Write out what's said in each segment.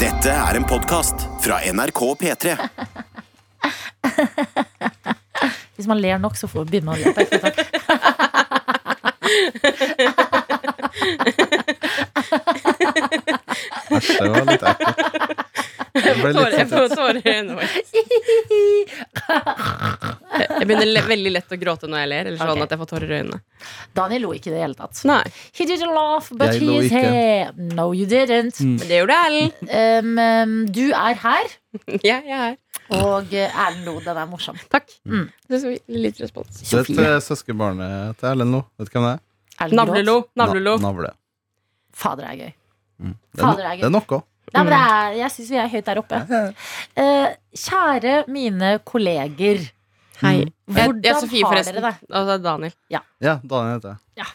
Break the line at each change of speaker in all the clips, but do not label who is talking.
Dette er en podkast fra NRK P3.
Hvis man ler nok, så får begynner man å le på ekte. Takk.
Æsj, det var litt ekkelt. Det ble litt
Jeg
sånn
får tårer i øynene. Jeg begynner le veldig lett å gråte når jeg ler, eller sånn
Ok.
at jeg får tårer i øynene.
Daniel lo ikke i det hele tatt.
Nei,
He didn't laugh, but
Jeg
he
lo
is
ikke. Mm.
here. No, you didn't.
men det gjorde Erlend.
Um, um, du er her,
Ja, jeg er her.
og eh, Erlend lo. Den er morsom.
Takk.
Mm.
Det er så litt respons.
Det er et eh, søskenbarnet til Erlend nå. Vet du hvem det er?
Erlend gråt.
Navlelo. Navlelo.
Na- Navle.
Fader, det er gøy.
Det er,
Fader,
no-
det er gøy.
det er noe.
Nei, men det
Mm.
er, jeg syns vi er høyt der oppe. Eh, kjære mine kolleger. Mm.
Hei. Jeg,
Hvordan
jeg er Sofie,
har
forresten.
dere det?
Og det er Daniel.
Ja, Daniel heter jeg.
Ja.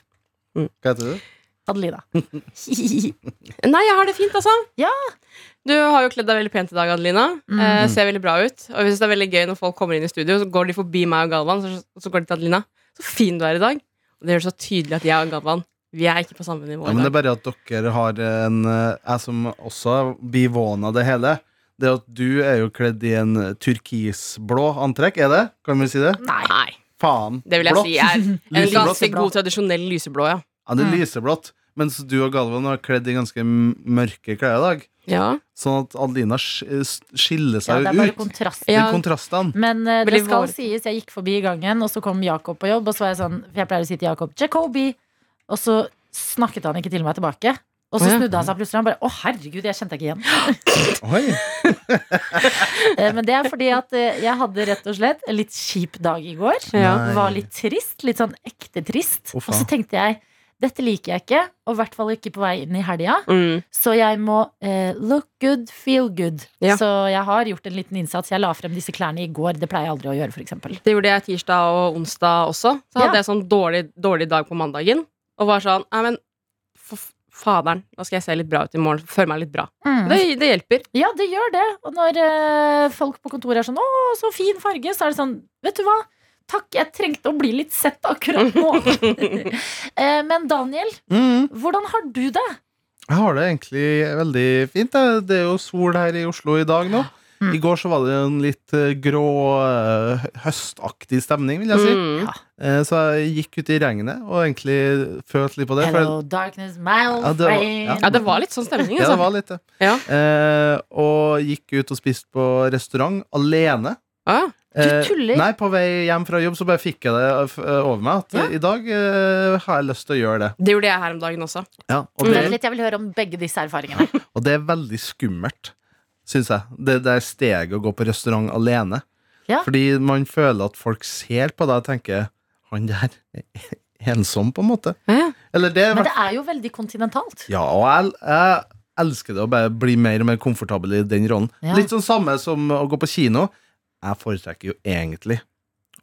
Mm. Hva heter du?
Adelina.
Nei, jeg har det fint, altså.
Ja.
Du har jo kledd deg veldig pent i dag, Adelina.
Mm.
Eh, ser veldig bra ut. Og jeg synes det er veldig gøy når folk kommer inn i studio, så går de forbi meg og Galvan, så, så går de til Adelina. Så fin du er i dag. Og det gjør det så tydelig at jeg og Galvan, vi er ikke på samme nivå
Ja,
i
men det
dag.
er bare at dere har en eh, Jeg som også er bivåna det hele. Det at du er jo kledd i en turkisblå antrekk, er det? Kan vi si det?
Nei.
Nei,
Faen.
det vil jeg
blått.
si er en
Lyseblått.
ganske god tradisjonell lyseblå, ja.
Ja, det er
Mm.
lyseblått. Mens du og Galvan har kledd i ganske m- mørke klær i dag.
ja.
Sånn at Adelina sk- s- skiller
Ja,
seg
det
jo
er bare
ut.
kontrast.
De
Ja.
kontrastene.
Men eh, det
Veldig
skal
vår-
sies, jeg gikk forbi gangen, og så kom Jakob på jobb, og så var jeg sånn, for jeg pleier å si til Jakob, Jacobi, og så snakket han ikke til meg tilbake. Og så
Å, ja.
snudde han seg plutselig, og han bare, å herregud, jeg kjente deg ikke igjen.
Oi.
Eh, Men det er fordi at eh, jeg hadde rett og slett en litt kjip dag i går.
Ja.
Nei.
Var litt trist, litt sånn ekte trist.
Å, faen.
Og så tenkte jeg, dette liker jeg ikke, og i hvert fall ikke på vei inn i helga.
Mm.
Så jeg må eh, look good, feel good.
Ja.
Så jeg har gjort en liten innsats. Jeg la frem disse klærne i går. Det pleier jeg aldri å gjøre, for eksempel.
Det gjorde jeg tirsdag og onsdag også. Så hadde
Ja.
jeg sånn dårlig, dårlig dag på mandagen. Og var sånn Nei, men for f- faderen, nå skal jeg se litt bra ut i morgen. Føle meg litt bra. Det, det hjelper.
Ja, det gjør det. Og når eh, folk på kontoret er sånn 'Å, så fin farge', så er det sånn Vet du hva? Takk, jeg trengte å bli litt sett akkurat nå. Eh, Men Daniel,
Mm.
hvordan har du det?
Jeg har det egentlig veldig fint. jeg. Det er jo sol her i Oslo i dag nå.
Mm.
I går så var det jo en litt eh, grå, eh, høstaktig stemning, vil jeg si.
Mm.
Eh, Så jeg gikk ut i regnet og egentlig følte litt på det. For
Hello, darkness, my old
Ja, det var- ja.
friend.
Ja, det var litt sånn stemning,
ja, det
altså.
var litt det.
Ja.
Eh, og gikk ut og spiste på restaurant alene.
Ja.
Eh,
tuller.
Nei, på vei hjem fra jobb så bare fikk jeg det eh, over meg at
Ja.
eh, i dag eh, har jeg lyst til å gjøre det.
Det gjorde jeg her om dagen også.
Ja, og,
Vent
det
litt, jeg vil høre om begge disse erfaringene.
og det er veldig skummelt, syns jeg. Det der steget å gå på restaurant alene.
Ja.
Fordi man føler at folk ser på deg og tenker Han der er ensom, på en måte.
Ja.
Eller det er
Men det er jo veldig kontinentalt.
Ja, og jeg, jeg elsker det å bare bli mer og mer komfortabel i den rollen.
Ja.
Litt sånn samme som å gå på kino. Jeg foretrekker jo egentlig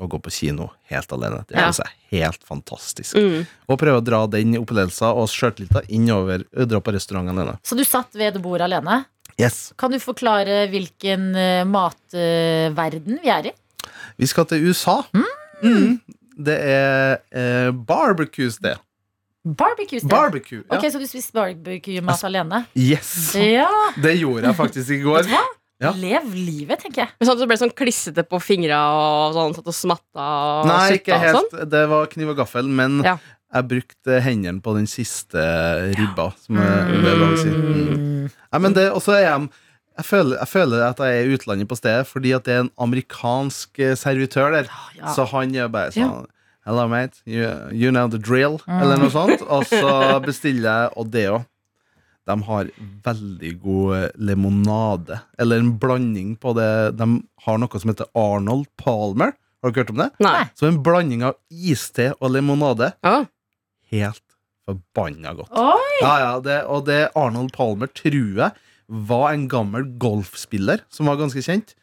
å gå på kino helt alene. Det
Ja.
synes jeg er helt fantastisk.
Mm.
Og prøve å dra den opplevelsen og sjøltilliten innover og dra på restaurant alene.
Så du satt ved bordet alene.
Yes.
Kan du forklare hvilken eh, matverden vi er i?
Vi skal til USA. Mm. Det er eh, barbecues, det.
Barbecue. sted.
Barbecue. Ja.
Ok, Så du spiste barbecue-mat alene?
Yes!
Ja!
Det gjorde jeg faktisk i
Vet
går.
du hva?
Ja.
Lev livet, tenker jeg.
Men sånn at det ble sånn klissete på fingra og sånn, satt og smatta og
Nei, ikke
sutta og sånn.
helt. Det var kniv og gaffel, men
Ja.
jeg brukte hendene på den siste ribba, som er det er lov å si. Mm. Nei, men det, og så er jeg, jeg, føler, jeg føler at jeg er i utlandet på stedet, fordi at det er en amerikansk eh, servitør der.
Ah, Ja. Mm.
Så han er bare sånn Hello, mate. You, you know the drill. Eller noe sånt. Og så bestiller jeg, og det òg. De har veldig god limonade, eller en blanding på det. De har noe som heter Arnold Palmer. Har dere hørt om det?
Nei.
Så en blanding av iste og limonade.
Ja.
Helt forbanna godt.
Oi!
Ja, ja, det, og det Arnold Palmer tror jeg var en gammel golfspiller som var ganske kjent.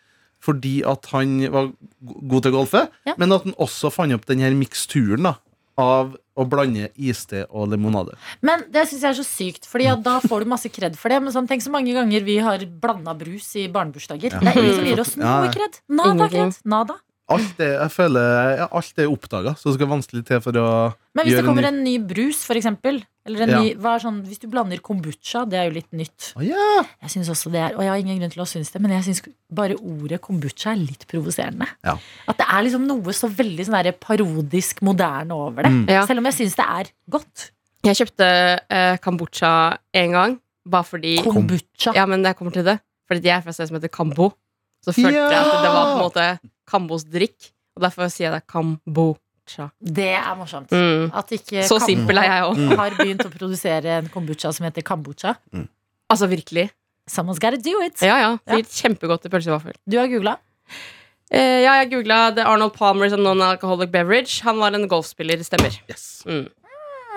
Fordi at han var go- god til å golfe,
Ja.
men at han også fant opp den her miksturen da, av å blande iste og limonade.
Men det syns jeg er så sykt, Fordi at da får du masse kred for det. Men sånn, tenk så mange ganger vi har blanda brus i barnebursdager. Det er ingen som gir oss
Ja,
noe
ja.
kred. Nada
Ingenting.
kred. Nada.
Alt er, jeg føler, ja, alt er oppdaga, så det skal vanskelig til for å
Men hvis
Gjør
det kommer
en
en ny brus, for eksempel eller en
Ja.
ny, hva er sånn, Hvis du blander kombucha, det er jo litt nytt.
Å ja!
Jeg synes også det er, Og jeg har ingen grunn til å synes det, men jeg synes bare ordet kombucha er litt provoserende.
Ja.
At det er liksom noe så veldig sånn der parodisk moderne over det.
Mm.
Ja.
Selv om jeg syns det er godt.
Jeg kjøpte eh, kombucha en gang, bare fordi
Kombucha.
Ja, men jeg kommer til det. Fordi jeg er fra et sted som heter Kambo. Så følte
Ja!
jeg at det var på en måte Kambos drikk, og derfor sier jeg det er kambocha.
Det er morsomt.
Mm.
At ikke
Så
Kambo
simpel er jeg òg.
Mm.
har begynt å produsere en kombucha som heter kombucha.
Altså virkelig.
Someone's gotta do it.
Ja, ja.
Ja.
Sikkert kjempegodt til pølse og vaffel.
Du har googla.
Eh, ja, jeg googla The Arnold Palmer som non-alcoholic beverage. Han var en golfspiller, stemmer.
Yes.
Mm.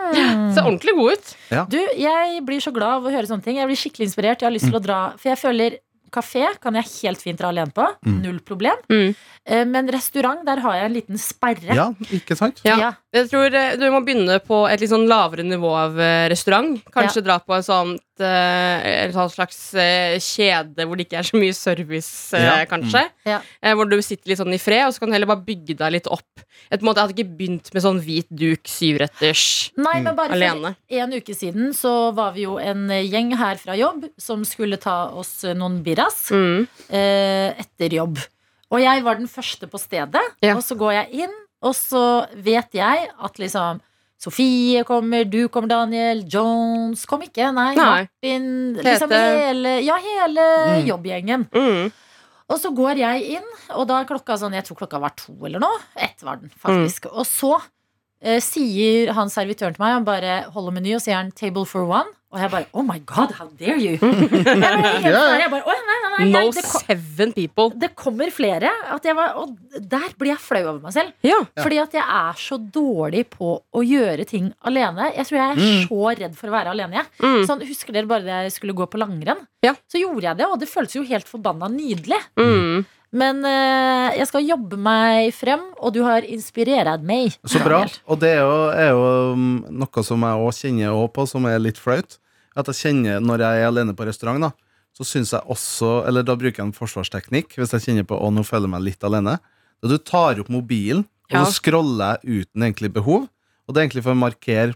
Ser ordentlig god ut.
Du, jeg blir så glad av å høre sånne ting. Jeg blir skikkelig inspirert. Jeg har
Mm.
lyst til å dra For jeg føler kafé kan jeg helt fint dra alene på.
Mm.
Null problem.
Mm.
Eh, Men restaurant, der har jeg en liten sperre.
Ja, ikke sant?
Ja. Jeg tror eh, du må begynne på et litt sånn lavere nivå av eh, restaurant. Kanskje dra på en sånn eh, en sånn slags eh, kjede hvor det ikke er så mye service, eh,
Ja.
kanskje.
Mm. Ja.
Eh, hvor du sitter litt sånn i fred, og så kan du heller bare bygge deg litt opp. Et, på en måte, jeg hadde ikke begynt med sånn hvit duk, syvretters,
Nei, men bare for
Mm. alene.
en uke siden så var vi jo en gjeng her fra jobb som skulle ta oss noen birras
Mm.
eh, etter jobb. Og jeg var den første på stedet,
Ja.
og så går jeg inn, og så vet jeg at liksom Sofie kommer, du kommer, Daniel. Jones kom ikke. Nei,
Nei.
Martin. Liksom
Tete.
hele, ja, hele
Mm.
jobbgjengen.
Mm.
Og så går jeg inn, og da er klokka sånn Jeg tror klokka var to eller noe. Ett var den, faktisk.
Mm.
Og så eh, sier han servitøren til meg, han bare holder meny og sier han 'table for one'. Og jeg bare 'oh my god, how dare you'? jeg bare, helt, sånn, jeg bare, «Å, nei, nei, nei,
No
nei, det, ko
seven people.
det kommer flere. At jeg var, og der blir jeg flau over meg selv.
Ja.
Fordi at jeg er så dårlig på å gjøre ting alene. Jeg tror jeg er
Mm.
så redd for å være alene. Jeg.
Mm.
Sånn, husker dere bare da jeg skulle gå på langrenn?
Ja.
Så gjorde jeg det, og det føltes jo helt forbanna nydelig.
Mm.
Men eh, jeg skal jobbe meg frem, og du har inspirert meg.
Så bra.
Daniel.
Og det er jo, er jo mm, noe som jeg òg kjenner også på, som er litt flaut. At jeg kjenner når jeg er alene på restaurant, da, så syns jeg også Eller da bruker jeg en forsvarsteknikk, hvis jeg kjenner på å nå føler jeg meg litt alene. Da du tar opp mobilen, og
Ja.
så scroller jeg uten egentlig behov. Og det er egentlig for å markere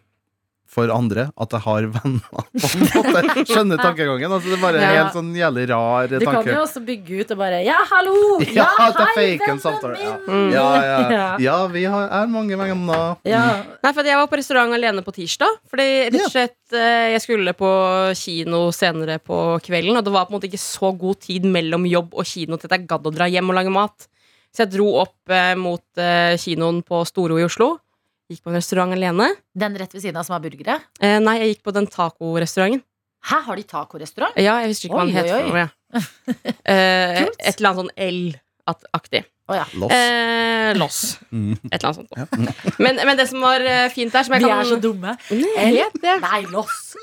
for andre at jeg har venner. på en måte. Skjønner tankegangen? Altså, det er bare en
Ja.
helt sånn jævlig rar
Du kan
tanke.
jo også bygge ut og bare Ja, hallo!
Ja, at jeg
hei,
faker en
vennen
samtale. Ja.
min!»
Ja, ja.
Ja. Eh,
ja, vi har, er mange venner.
Ja.
Nei, for at jeg var på restaurant alene på tirsdag. Fordi rett
Ja.
og slett eh, Jeg skulle på kino senere på kvelden, og det var på en måte ikke så god tid mellom jobb og kino til at jeg gadd å dra hjem og lage mat. Så jeg dro opp eh, mot eh, kinoen på Storo i Oslo. Gikk på en restaurant alene.
Den rett ved siden av som har burgere.
Eh, nei, jeg gikk på den tacorestauranten.
Her har de tacorestaurant.
Ja, jeg visste ikke hva
Oi,
den het.
oi,
for noe, ja. eh,
Kult.
et eller annet sånn L-aktig.
Loss.
Eh, Loss.
Mm.
Et eller annet sånt.
Ja.
Men, men det som var eh, fint der som jeg
Vi
kan...
er så dumme.
Jeg vet det.
Nei, loss.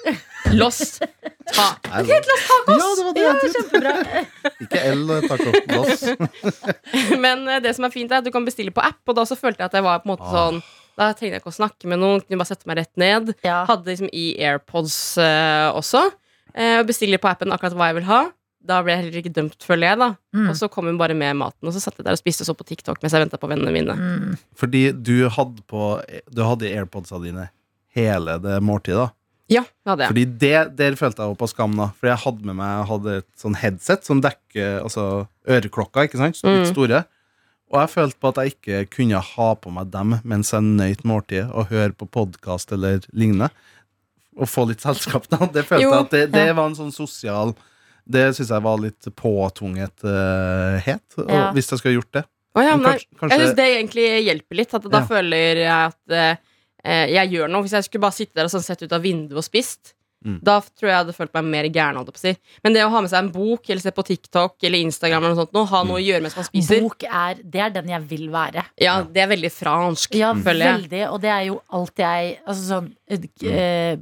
Loss. Ta.
Ja, det var det. jeg trodde. Ikke eh, L, takk og Loss.
Men eh, det som er fint er at du kan bestille på app, og da så følte jeg at jeg var på en måte
Ah.
sånn Da trengte jeg ikke å snakke med noen, kunne bare sette meg rett ned.
Ja.
Hadde liksom i AirPods eh, også. Eh, og bestiller på appen akkurat hva jeg vil ha. Da ble jeg heller ikke dømt, føler jeg. da
Mm.
Og så kom hun bare med maten, og så satt jeg der og spiste og så på TikTok mens jeg venta på vennene mine.
Mm.
Fordi du hadde på Du hadde i AirPodsa dine hele det måltidet. da.
Ja, det hadde jeg.
Fordi det, Der følte jeg også på skam. da Fordi jeg hadde med meg jeg hadde et sånn headset som dekker altså øreklokka, ikke sant? Litt
Mm.
store. Og jeg følte på at jeg ikke kunne ha på meg dem mens jeg nøt måltidet og høre på podkast eller lignende. Og få litt selskap. da Det følte
Jo,
jeg at det, det var en sånn sosial Det syns jeg var litt påtvunget eh, het, og,
Ja.
hvis jeg skulle gjort det.
Å, ja,
Men
men nei,
kanskje, kanskje
jeg syns det egentlig hjelper litt. At da
Ja.
føler jeg at eh, eh, jeg gjør noe. Hvis jeg skulle bare sitte der og sånn sett ut av vinduet og spist,
Mm.
da tror jeg jeg hadde følt meg mer gæren. holdt jeg på å Si. Men det å ha med seg en bok eller se på TikTok eller Instagram, eller noe sånt, nå, ha noe å gjøre mens man spiser,
Bok er Det er den jeg vil være.
ja, det er veldig fransk.
Mm.
Ja,
føler jeg.
veldig. Og det er jo alt jeg Altså sånn eh, k- eh,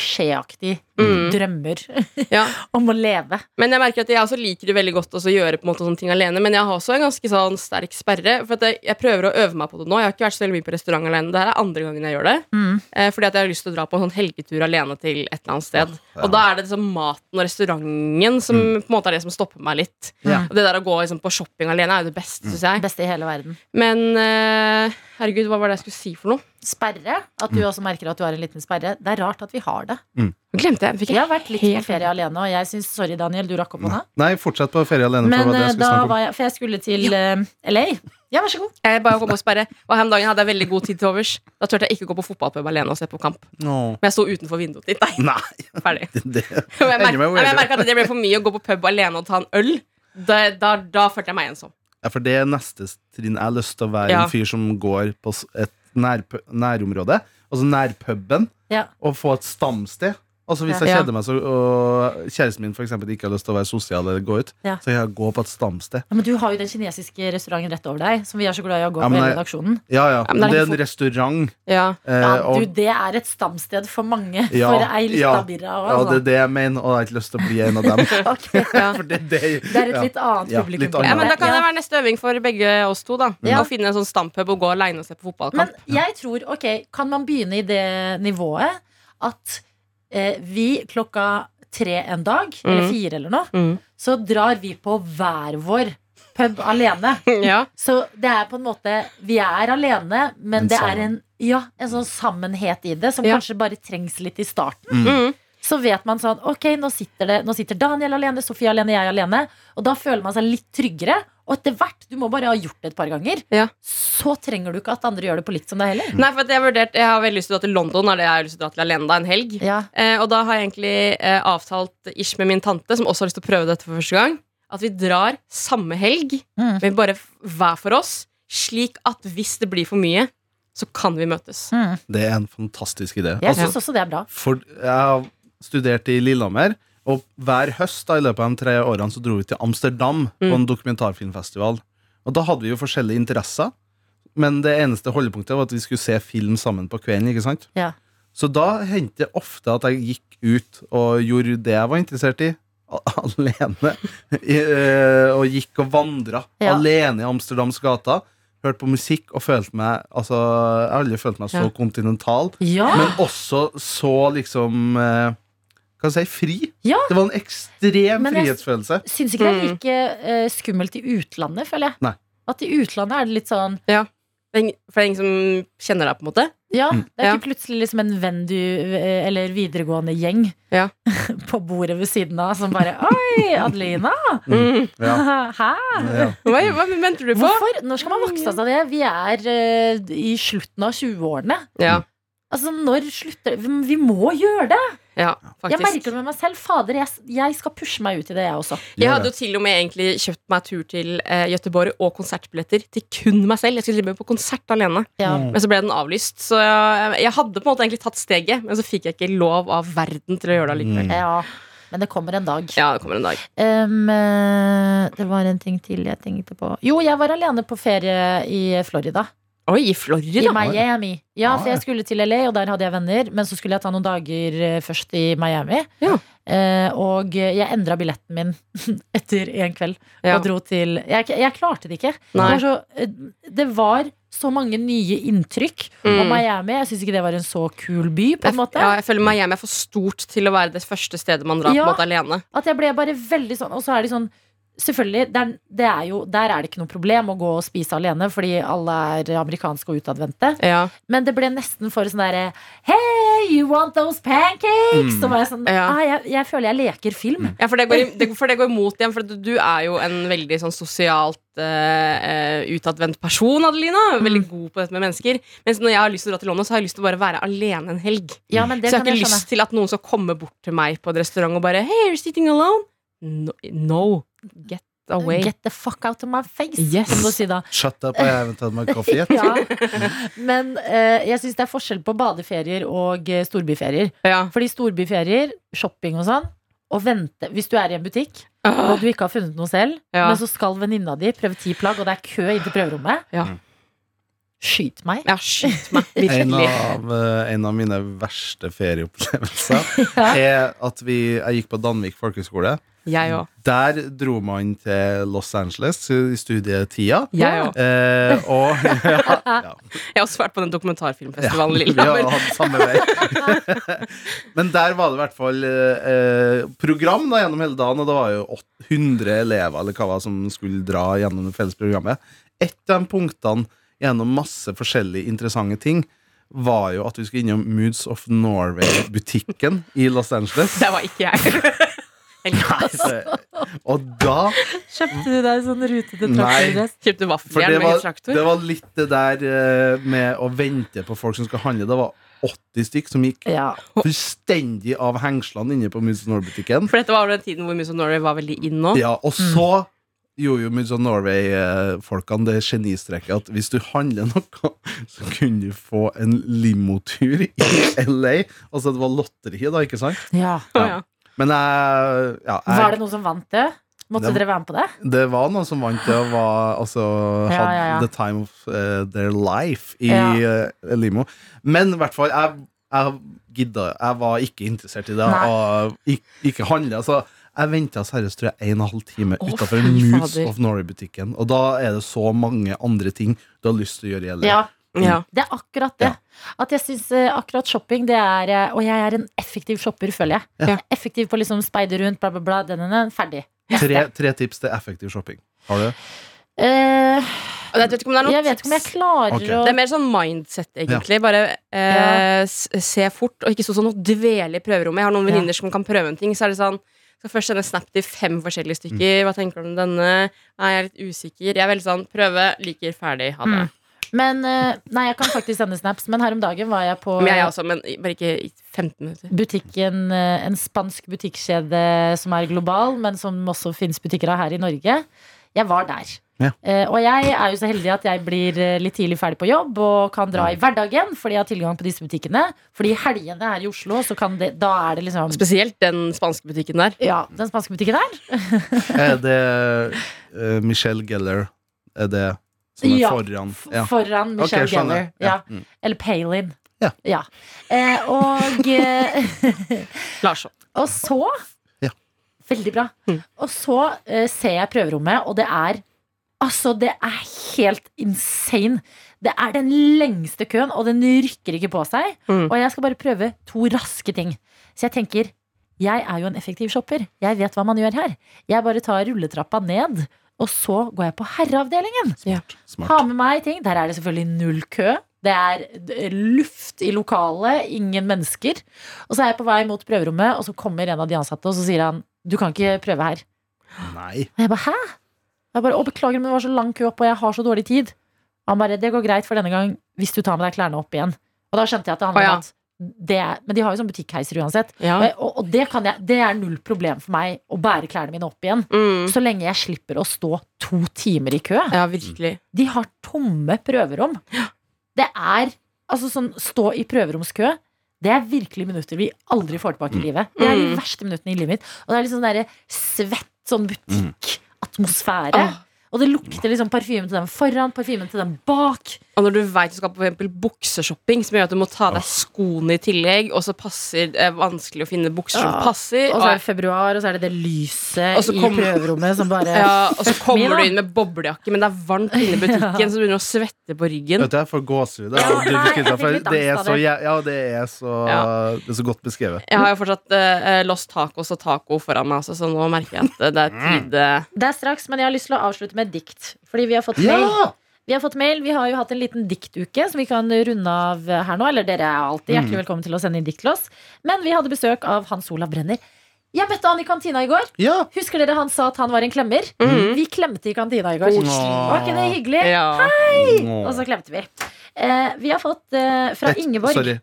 klisjéaktig
Mm.
drømmer
Ja.
om å leve.
Men jeg merker at jeg også liker det veldig godt også å gjøre på en måte sånne ting alene. Men jeg har også en ganske sånn sterk sperre. For at jeg, jeg prøver å øve meg på det nå. Jeg har ikke vært så veldig mye på restaurant alene. Det her er andre gangen jeg gjør det.
Mm.
Eh, fordi at jeg har lyst til å dra på en sånn helgetur alene til et eller annet sted.
Ja, ja.
Og da er det liksom maten og restauranten som på en måte er det som stopper meg litt.
Ja.
Og det der å gå liksom, på shopping alene er jo det beste, syns jeg.
Beste i hele verden.
Men eh, herregud, hva var det jeg skulle si for noe?
Sperre. At
Mm.
du også merker at du har en liten sperre. Det er rart at vi har det.
Nå glemte jeg. Fikk
Jeg
jeg
har vært litt på ferie alene, og jeg syns Sorry, Daniel, du rakk opp hånda.
Nei, fortsett på ferie alene. for
Men
det
eh,
var det jeg skulle
da
snakke om.
var jeg For jeg skulle til eh, LA. Ja, vær så god.
jeg bare kom på sperre. Og her om dagen hadde jeg veldig god tid til overs. Da turte jeg ikke gå på fotballpub alene og se på kamp.
Åh.
Men jeg sto utenfor vinduet ditt. Nei,
Nei,
ferdig.
det
Og jeg
Ender med å gjøre det.
merka at det ble for mye å gå på pub alene og ta en øl. Da, da, da følte jeg meg ensom.
ja, For det er neste trinn. Jeg har lyst til å være
Ja.
en fyr som går på s- et nærp- nærområde, altså nærpuben,
Ja.
og få et stamsted. Altså Hvis jeg
Ja.
kjeder meg, så, og kjæresten min for eksempel, ikke har lyst til å være sosial eller gå ut,
Ja.
så jeg går på et stamsted.
Ja, Men du har jo den kinesiske restauranten rett over deg, som vi er så glad i å gå
Ja,
på
men
hele
jeg-
redaksjonen.
Ja, ja.
men det er
det er
ikke
en restaurant.
Ja.
Eh,
Ja,
og,
du, det er et stamsted for mange.
Ja,
for ei lita
ja,
birra
ja,
også,
det er det jeg mener, og jeg har ikke lyst til å bli en av dem.
altså. Ok.
Ja.
For det, det,
Det er et
ja.
litt annet
Ja,
publikum.
litt
på
annet.
Ja, men Da kan
Ja.
det være neste øving for begge oss to. da
Ja.
Å finne en sånn stampub og gå aleine og se på
Men
fotballkamp.
jeg tror, ok, kan man begynne i det nivået at eh, vi klokka tre en dag, eller
Mhm.
fire eller noe,
Mhm.
så drar vi på hver vår pub alene.
Ja.
Så det er på en måte Vi er alene, men
En
det er en,
sammen.
ja, en sånn sammenhet i det som
Ja.
kanskje bare trengs litt i starten.
Mhm.
Så vet man sånn Ok, nå sitter, det, nå sitter Daniel alene, Sofie alene, jeg alene. Og da føler man seg litt tryggere. Og etter hvert, du må bare ha gjort det et par ganger,
Ja.
så trenger du ikke at andre gjør det på likt som deg heller.
Nei, for at jeg, har vurdert, jeg har veldig lyst til å dra til London. Er det jeg har lyst til å dra til alene da, en helg
Ja.
eh, Og da har jeg egentlig eh, avtalt ish med min tante, som også har lyst til å prøve dette for første gang, at vi drar samme helg,
Mm.
men bare f- hver for oss. Slik at hvis det blir for mye, så kan vi møtes.
Mm.
det er en fantastisk idé.
Jeg
Altså,
syns også det er bra.
for, jeg har studert i Lillehammer, og hver høst da, i løpet av de tre årene så dro vi til Amsterdam
Mm.
på en dokumentarfilmfestival. Og da hadde vi jo forskjellige interesser, men det eneste holdepunktet var at vi skulle se film sammen på kvelden. ikke sant?
Ja.
Så da hendte det ofte at jeg gikk ut og gjorde det jeg var interessert i, a- alene. I, eh, og gikk og vandra
Ja.
alene i Amsterdams gater. Hørte på musikk og følte meg altså, Jeg har aldri følt meg så
Ja.
kontinental.
Ja,
Men også så liksom eh, Hva skal jeg si? Fri.
Ja.
Det var en ekstrem
Men jeg-
frihetsfølelse.
Syns ikke det er
Mm.
like eh, skummelt i utlandet, føler jeg.
Nei.
At i utlandet er det litt sånn
Det er ing- For det er ingen som kjenner deg, på en måte.
Ja,
Mm.
det er
Ja.
ikke plutselig liksom en venn du eh, Eller videregående gjeng
Ja.
på bordet ved siden av som bare Oi, Adelina!
Ja.
Hæ?
Ja.
Hva, hva mente du på?
Hvorfor? Når skal man vokse seg av det? Vi er eh, i slutten av 20-årene.
Ja,
Altså, når slutter Vi vi må gjøre det!
ja,
Jeg
faktisk.
merker det med meg selv. Fader, jeg, jeg skal pushe meg ut i det, jeg også.
Jeg hadde jo til og med egentlig kjøpt meg tur til eh, Gøteborg og konsertbilletter til kun meg selv. Jeg skulle til og med på konsert alene,
Ja.
Mm.
men så ble den avlyst. Så jeg, jeg hadde på en måte egentlig tatt steget, men så fikk jeg ikke lov av verden til å gjøre det allikevel.
Mm.
ja. Men det kommer en dag.
Ja, det kommer en dag.
Ehm, eh, det var en ting til jeg tenkte på. Jo, jeg var alene på ferie i Florida.
Oi, i
I
Florida?
Miami. Ja, for
Ja.
Ah.
jeg skulle til LA, og der hadde jeg venner. Men så skulle jeg ta noen dager eh, først i Miami.
Ja.
Eh, og jeg endra billetten min etter en kveld
Ja.
og dro til jeg, jeg klarte det ikke. Det
Nei.
var, så, eh, det var så mange nye inntrykk om
Mm.
Miami. Jeg syns ikke det var en så kul by, på
Jeg,
en måte.
ja, jeg føler Miami er for stort til å være det første stedet man drar på
Ja.
en måte alene.
At jeg ble bare veldig sånn Og så er de sånn Selvfølgelig, det er, det er jo, der er det ikke noe problem å gå og spise alene, fordi alle er amerikanske og utadvendte.
Ja.
Men det ble nesten for sånn derre Hey, you want those pancakes?
Mm.
Så var jeg sånn
Ja.
ah, jeg, jeg føler jeg leker film.
Ja, for det går, i- det, for det går imot igjen, for du du er jo en veldig sånn sosialt uh, utadvendt person, Adelina.
Mm.
Veldig god på dette med mennesker. Mens når jeg har lyst til å dra til London, så har jeg lyst til å bare være alene en helg.
Ja, men det
så jeg har
kan jeg
ikke
skjønne.
lyst til at noen skal komme bort til meg på en restaurant og bare Hey, you're sitting alone? No. no. Get away.
Get the fuck out of my face,
Yes.
kan du si da.
Shut up, I haven't had my coffee yet.
Ja. Men eh, jeg syns det er forskjell på badeferier og eh, storbyferier.
Ja.
Fordi storbyferier, shopping og sånn, og vente Hvis du er i en butikk og du ikke har funnet noe selv,
Ah, Ja.
Mm.
men så skal venninna di prøve ti plagg, og det er kø inn til prøverommet
Ja.
Skyt meg.
Ja, skyt meg.
En
Virkelig.
av, eh, en av mine verste ferieopplevelser er at vi, jeg gikk på Danvik folkehøgskole.
Jeg òg.
Der dro man til Los Angeles i studietida.
Jeg òg.
Eh, og ja, ja,
Jeg har også vært på den dokumentarfilmfestivalen i
vi har
Lillehammer.
hatt samme vei. Men der var det i hvert fall eh, program da, gjennom hele dagen, og det var jo 800 elever eller hva det var som skulle dra gjennom det felles programmet. Et av de punktene gjennom masse forskjellige interessante ting var jo at vi skulle innom Moods of Norway-butikken i Los Angeles. Eh,
Det var ikke jeg. Eller,
Og da
Kjøpte du deg sånn rutete
Nei.
traktordress?
For
Kjøpte
det
vaffeljern med
var,
traktor.
det var litt det der eh, med å vente på folk som skal handle. Det var 80 stykk som gikk
Ja.
fullstendig av hengslene inne på Moods of Norway-butikken.
For dette var jo den tiden hvor Moose of Norway var veldig in nå.
Ja, og så gjorde jo Moods of Norway-folkene det genistrekket at hvis du handler noe, så kunne du få en limotur i LA. Altså det var lotteri, da, ikke sant?
ja.
Å, ja.
Men jeg, ja,
Var det
jeg,
noen som vant det? Måtte
Det-
dere være med på det?
det var noen som vant det og var altså
Ja,
had
ja, ja.
the time of eh, their life i
Ja.
eh, limo. Men i hvert fall, jeg, jeg gidda Jeg var ikke interessert i det,
Nei.
og ikke, ikke handla. Så jeg venta seriøst tror jeg, en og en halv time
Å,
utafor
fy
Moods
fader.
of Norway-butikken. Og da er det så mange andre ting du har lyst til å gjøre i LA.
Ja.
Ja.
Det er akkurat det.
Ja.
At jeg syns akkurat shopping, det er eh, Og jeg er en effektiv shopper, føler jeg.
Ja.
jeg er effektiv på liksom speide rundt, bla, bla, bla. Den, den, den, ferdig.
Tre, tre tips til effektiv shopping. Har du? det?
Eh,
Og Jeg vet ikke om det er noen
jeg vet ikke om jeg
tips.
klarer
Ok.
å
Det er mer sånn mindset, egentlig. Bare eh, s- se fort, og ikke stå sånn og dvele i prøverommet. Jeg har noen
Ja.
venninner som kan prøve en ting, så er det sånn skal først sende snap til fem forskjellige stykker. Hva tenker du om denne? Nei, jeg er litt usikker. Jeg er veldig sånn prøve, liker, ferdig, ha det.
Mm. Men eh, Nei, jeg kan faktisk sende snaps, men her om dagen var jeg på
Men jeg også, men bare ikke i 15 minutter.
butikken eh, En spansk butikkjede som er global, men som også finnes butikker av her i Norge. Jeg var der.
Ja.
Eh, og jeg er jo så heldig at jeg blir eh, litt tidlig ferdig på jobb og kan dra i hverdagen fordi jeg har tilgang på disse butikkene. Fordi i helgene her i Oslo, så kan det, da er det liksom
Spesielt den spanske butikken der.
Ja, den spanske butikken der.
Er det eh, Michelle Geller? Er det som er
Ja.
foran?
F-
Ja.
Foran
Ok,
Michelle
skjønner.
Geller. Ja.
Ja. Mm.
Eller Palin.
Ja.
Eh, og eh,
Larsson.
Og så
Ja.
Veldig bra.
Mm.
Og så eh, ser jeg prøverommet, og det er Altså, det er helt insane. Det er den lengste køen, og den rykker ikke på seg.
Mm.
Og jeg skal bare prøve to raske ting. Så jeg tenker jeg er jo en effektiv shopper. Jeg vet hva man gjør her. Jeg bare tar rulletrappa ned, og så går jeg på herreavdelingen.
Smart.
Ha med meg ting. Der er det selvfølgelig null kø. Det er d- luft i lokalet, ingen mennesker. Og så er jeg på vei mot prøverommet, og så kommer en av de ansatte og så sier han du kan ikke prøve her.
Nei.
Og jeg bare hæ? Jeg bare, å Beklager, men det var så lang kø opp, og jeg har så dårlig tid. Og han bare det går greit for denne gang hvis du tar med deg klærne opp igjen. Og da skjønte jeg at det handler
Å, ja.
om at det er, Men de har jo sånn butikkheiser uansett. Og,
Ja.
jeg- og, og det, kan jeg, det er null problem for meg å bære klærne mine opp igjen.
Mm.
Så lenge jeg slipper å stå to timer i kø.
ja, virkelig.
De har tomme prøverom. Det er altså sånn stå i prøveromskø. Det er virkelig minutter vi aldri får tilbake i livet. Det er de
Mm.
verste minuttene i livet mitt. Og det er liksom sånn derre svett sånn butikkatmosfære.
Åh.
Og det lukter liksom parfyme til dem foran, parfymen til dem bak.
Og når du vet du skal på for eksempel bukseshopping, som gjør at du må ta av deg skoene i tillegg, og så passer det er vanskelig å finne bukser som
Ja.
passer,
Og så
og,
er det februar, og så er det det lyset
Og så
i
kommer-
prøverommet som bare
ja, og så
Mina.
kommer du inn med boblejakke, men det er varmt inne i butikken,
Ja.
så du begynner å svette på ryggen.
Vet du, jeg får gåsehud.
Ja,
av det du
nei,
beskriver,
jeg fikk
for
litt
Det
angst
er
av
så
det.
jæ- ja, det er så,
Ja.
det er så godt beskrevet.
Jeg har jo fortsatt eh, Lost Tacos og taco foran meg, altså, så nå merker jeg at det er
Mm.
tide.
Det er straks, men jeg har lyst til å avslutte med et dikt. Fordi vi har fått mail.
Ja!
Vi har fått mail, vi har jo hatt en liten diktuke som vi kan runde av her nå. Eller dere er alltid
Mm.
hjertelig velkommen til å sende inn dikt til oss. Men vi hadde besøk av Hans Olav Brenner. Jeg møtte han i kantina i går.
ja.
Husker dere han sa at han var en klemmer?
Mhm.
Vi klemte i kantina i går.
Mm. Koselig.
Var ikke det hyggelig?
Ja.
Og så
Åh.
klemte vi. Eh, vi har fått eh, Altså, fra
Et-
Ingeborg
Sorry.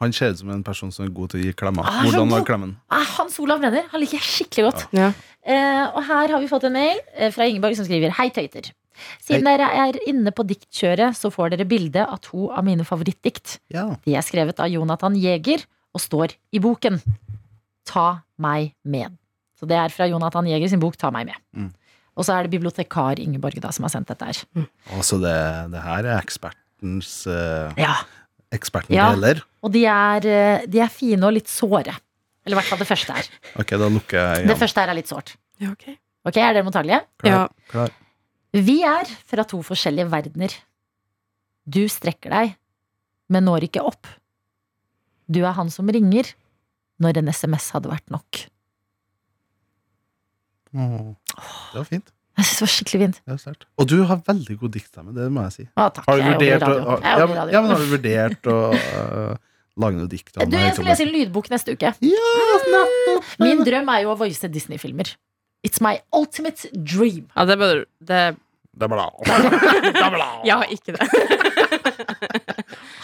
Han ser ut som en person som er god til å gi klemmer.
Ah, så
Hvordan var
god.
klemmen?
ah, Hans Olav Brenner. Han liker jeg skikkelig godt.
Ja.
Eh, og her har vi fått en mail eh, fra Ingeborg som skriver Hei tøyter Siden dere er inne på diktkjøret Så får dere bilde av to av mine favorittdikt
Ja.
De er skrevet av Jonathan Jeger Og står i boken Ta meg med Så det er fra Jonathan Jeger sin bok Ta meg med
Mm.
Og så er det bibliotekar Ingeborg da som har sendt dette her
Altså, det, det her er ekspert, ekspertens, eh,
Ja.
eksperten
Ja.
deler.
Og de er, eh, de er fine og litt såre. Eller i hvert fall det første her.
Ok, da lukker jeg
Det
igjen.
første her er litt sårt.
Ja, ok.
Ok, Er dere mottagelige?
Ja.
klar.
Vi er fra to forskjellige verdener. Du strekker deg, men når ikke opp. Du er han som ringer når en SMS hadde vært nok.
Åh, Det var fint.
Jeg synes det var skikkelig fint.
Det var sterkt. Og du har veldig god diktstemme, det må jeg si.
Å, takk.
Har du
jeg jobber i
vurdert å,
radio. Jeg
ja,
jobber i
men-
radio.
ja, men har du vurdert å øh, lage noe dikt? om eh,
Du, jeg skal
Høytoppen?
lese en lydbok neste uke.
Ja,
Min drøm er jo å voice Disney-filmer. It's my ultimate dream.
Ja, det bør det,
det er bra.
Jeg har ikke det.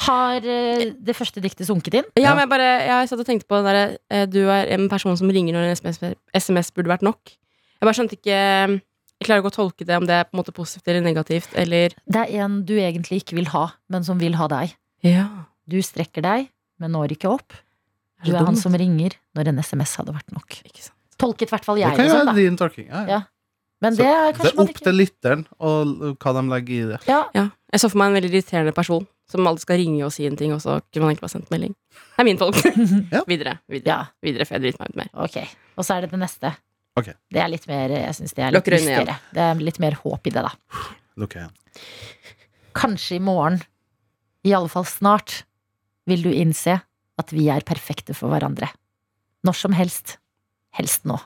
Har eh, det første diktet sunket inn?
Ja, men jeg, bare, jeg satt og tenkte på den derre eh, Du er en person som ringer når en SMS, SMS burde vært nok. Jeg bare skjønte ikke Jeg klarer ikke å tolke det om det er på en måte positivt eller negativt. Eller
Det er en du egentlig ikke vil ha, men som vil ha deg.
ja.
Du strekker deg, men når ikke opp. Du er han som ringer når en SMS hadde vært nok.
ikke sant.
Tolket i hvert fall
Det
jeg
kan
det
jo
sånn,
være
da.
din tolking. Ja, ja.
Ja, Men
Så
det er
Det
kanskje
er
man
opp
ikke
til lytteren og l- hva de legger i det.
ja.
Ja. Jeg så for meg en veldig irriterende person som alltid skal ringe og si en ting, og så kunne man egentlig bare sendt melding. Det er min tolk.
Ja.
Videre. Videre,
ja,
videre, for jeg driter meg ut mer.
ok. Og så er det det neste.
Ok.
Det er litt mer eh, Jeg synes det er litt
Lukker øynene igjen.
lystigere. Det er litt mer håp i det, da.
Lukker igjen.
Kanskje i morgen, i alle fall snart, vil du innse at vi er perfekte for hverandre. Når som helst. Helst nå.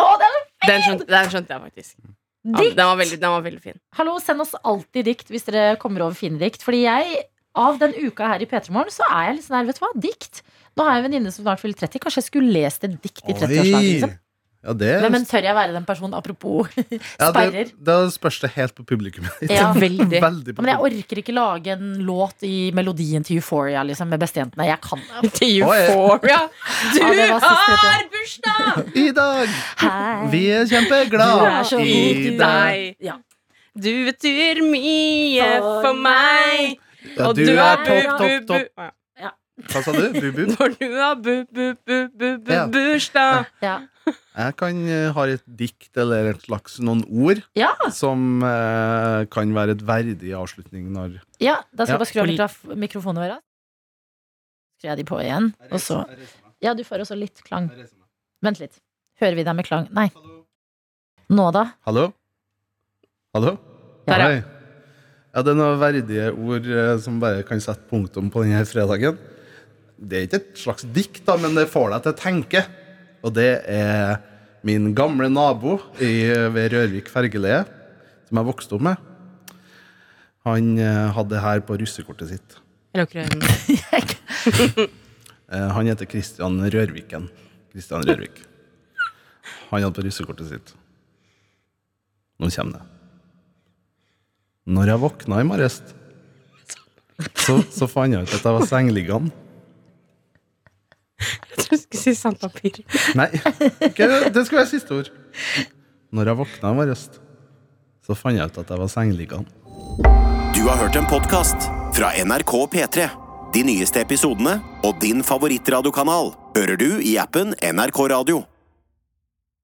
Å, det er så
Den skjønte, den skjønte jeg faktisk. Ja,
dikt!
den, var veldig, den var veldig fin.
Hallo, send oss alltid dikt hvis dere kommer over fine dikt. Fordi jeg, av den uka her i P3morgen, så er jeg litt sånn her, vet du hva, dikt. Nå har jeg en venninne som snart fyller 30. Kanskje jeg skulle lest et dikt i 30-årslaget? Liksom.
Ja, det,
Men, men tør jeg være den personen? Apropos
ja, det,
sperrer.
da spørs det helt på publikum.
Ja.
Veldig.
Veldig på
Men jeg orker ikke lage en låt i melodien til Euphoria liksom, med bestejentene. Jeg kan
Til
Oi.
Euphoria. Du
Ja, det var sist, vet du.
har bursdag!
publikum. I dag!
Hei.
Vi er
Du
kjempeglade
er så god
i
til
deg.
deg.
Ja.
Du betyr mye
For
for meg.
Ja, du
er
er topp,
bu,
topp,
bu,
topp.
bu.
Hva sa du? Bu-bu?
Når du har bu, bu, bu, bu, bu,
Ja.
bursdag.
Ja.
Jeg kan eh, ha et dikt eller et slags noen ord
Ja.
som eh, kan være et verdig avslutning når
ja, da skal
Ja.
jeg bare skru av mikrof mikrofonene våre. Skrur jeg de på igjen, og så Ja, du får også litt klang. Vent litt. Hører vi deg med klang? Nei. Nå, da?
Hallo? Hallo?
Der, ja.
Hei. Ja, det er noen verdige ord eh, som bare kan sette punktum på denne fredagen. Det er ikke et slags dikt, da, men det får deg til å tenke. Og det er min gamle nabo i, ved Rørvik fergeleie, som jeg vokste opp med. Han eh, hadde det her på russekortet sitt.
Jeg lukker øynene.
Eh, Han heter Kristian Rørviken. Kristian Rørvik. Han hadde på russekortet sitt. Nå kommer det. Når jeg våkna i morges, så, så fant jeg ut at jeg var sengeliggende.
Jeg trodde du skulle si sandpapir.
Nei, ikke, det skulle være siste ord. Når jeg våkna i morges, så fant jeg ut at jeg var sengeliggende.
Du har hørt en podcast fra NRK P3. De nyeste episodene og din favorittradiokanal hører du i appen NRK Radio.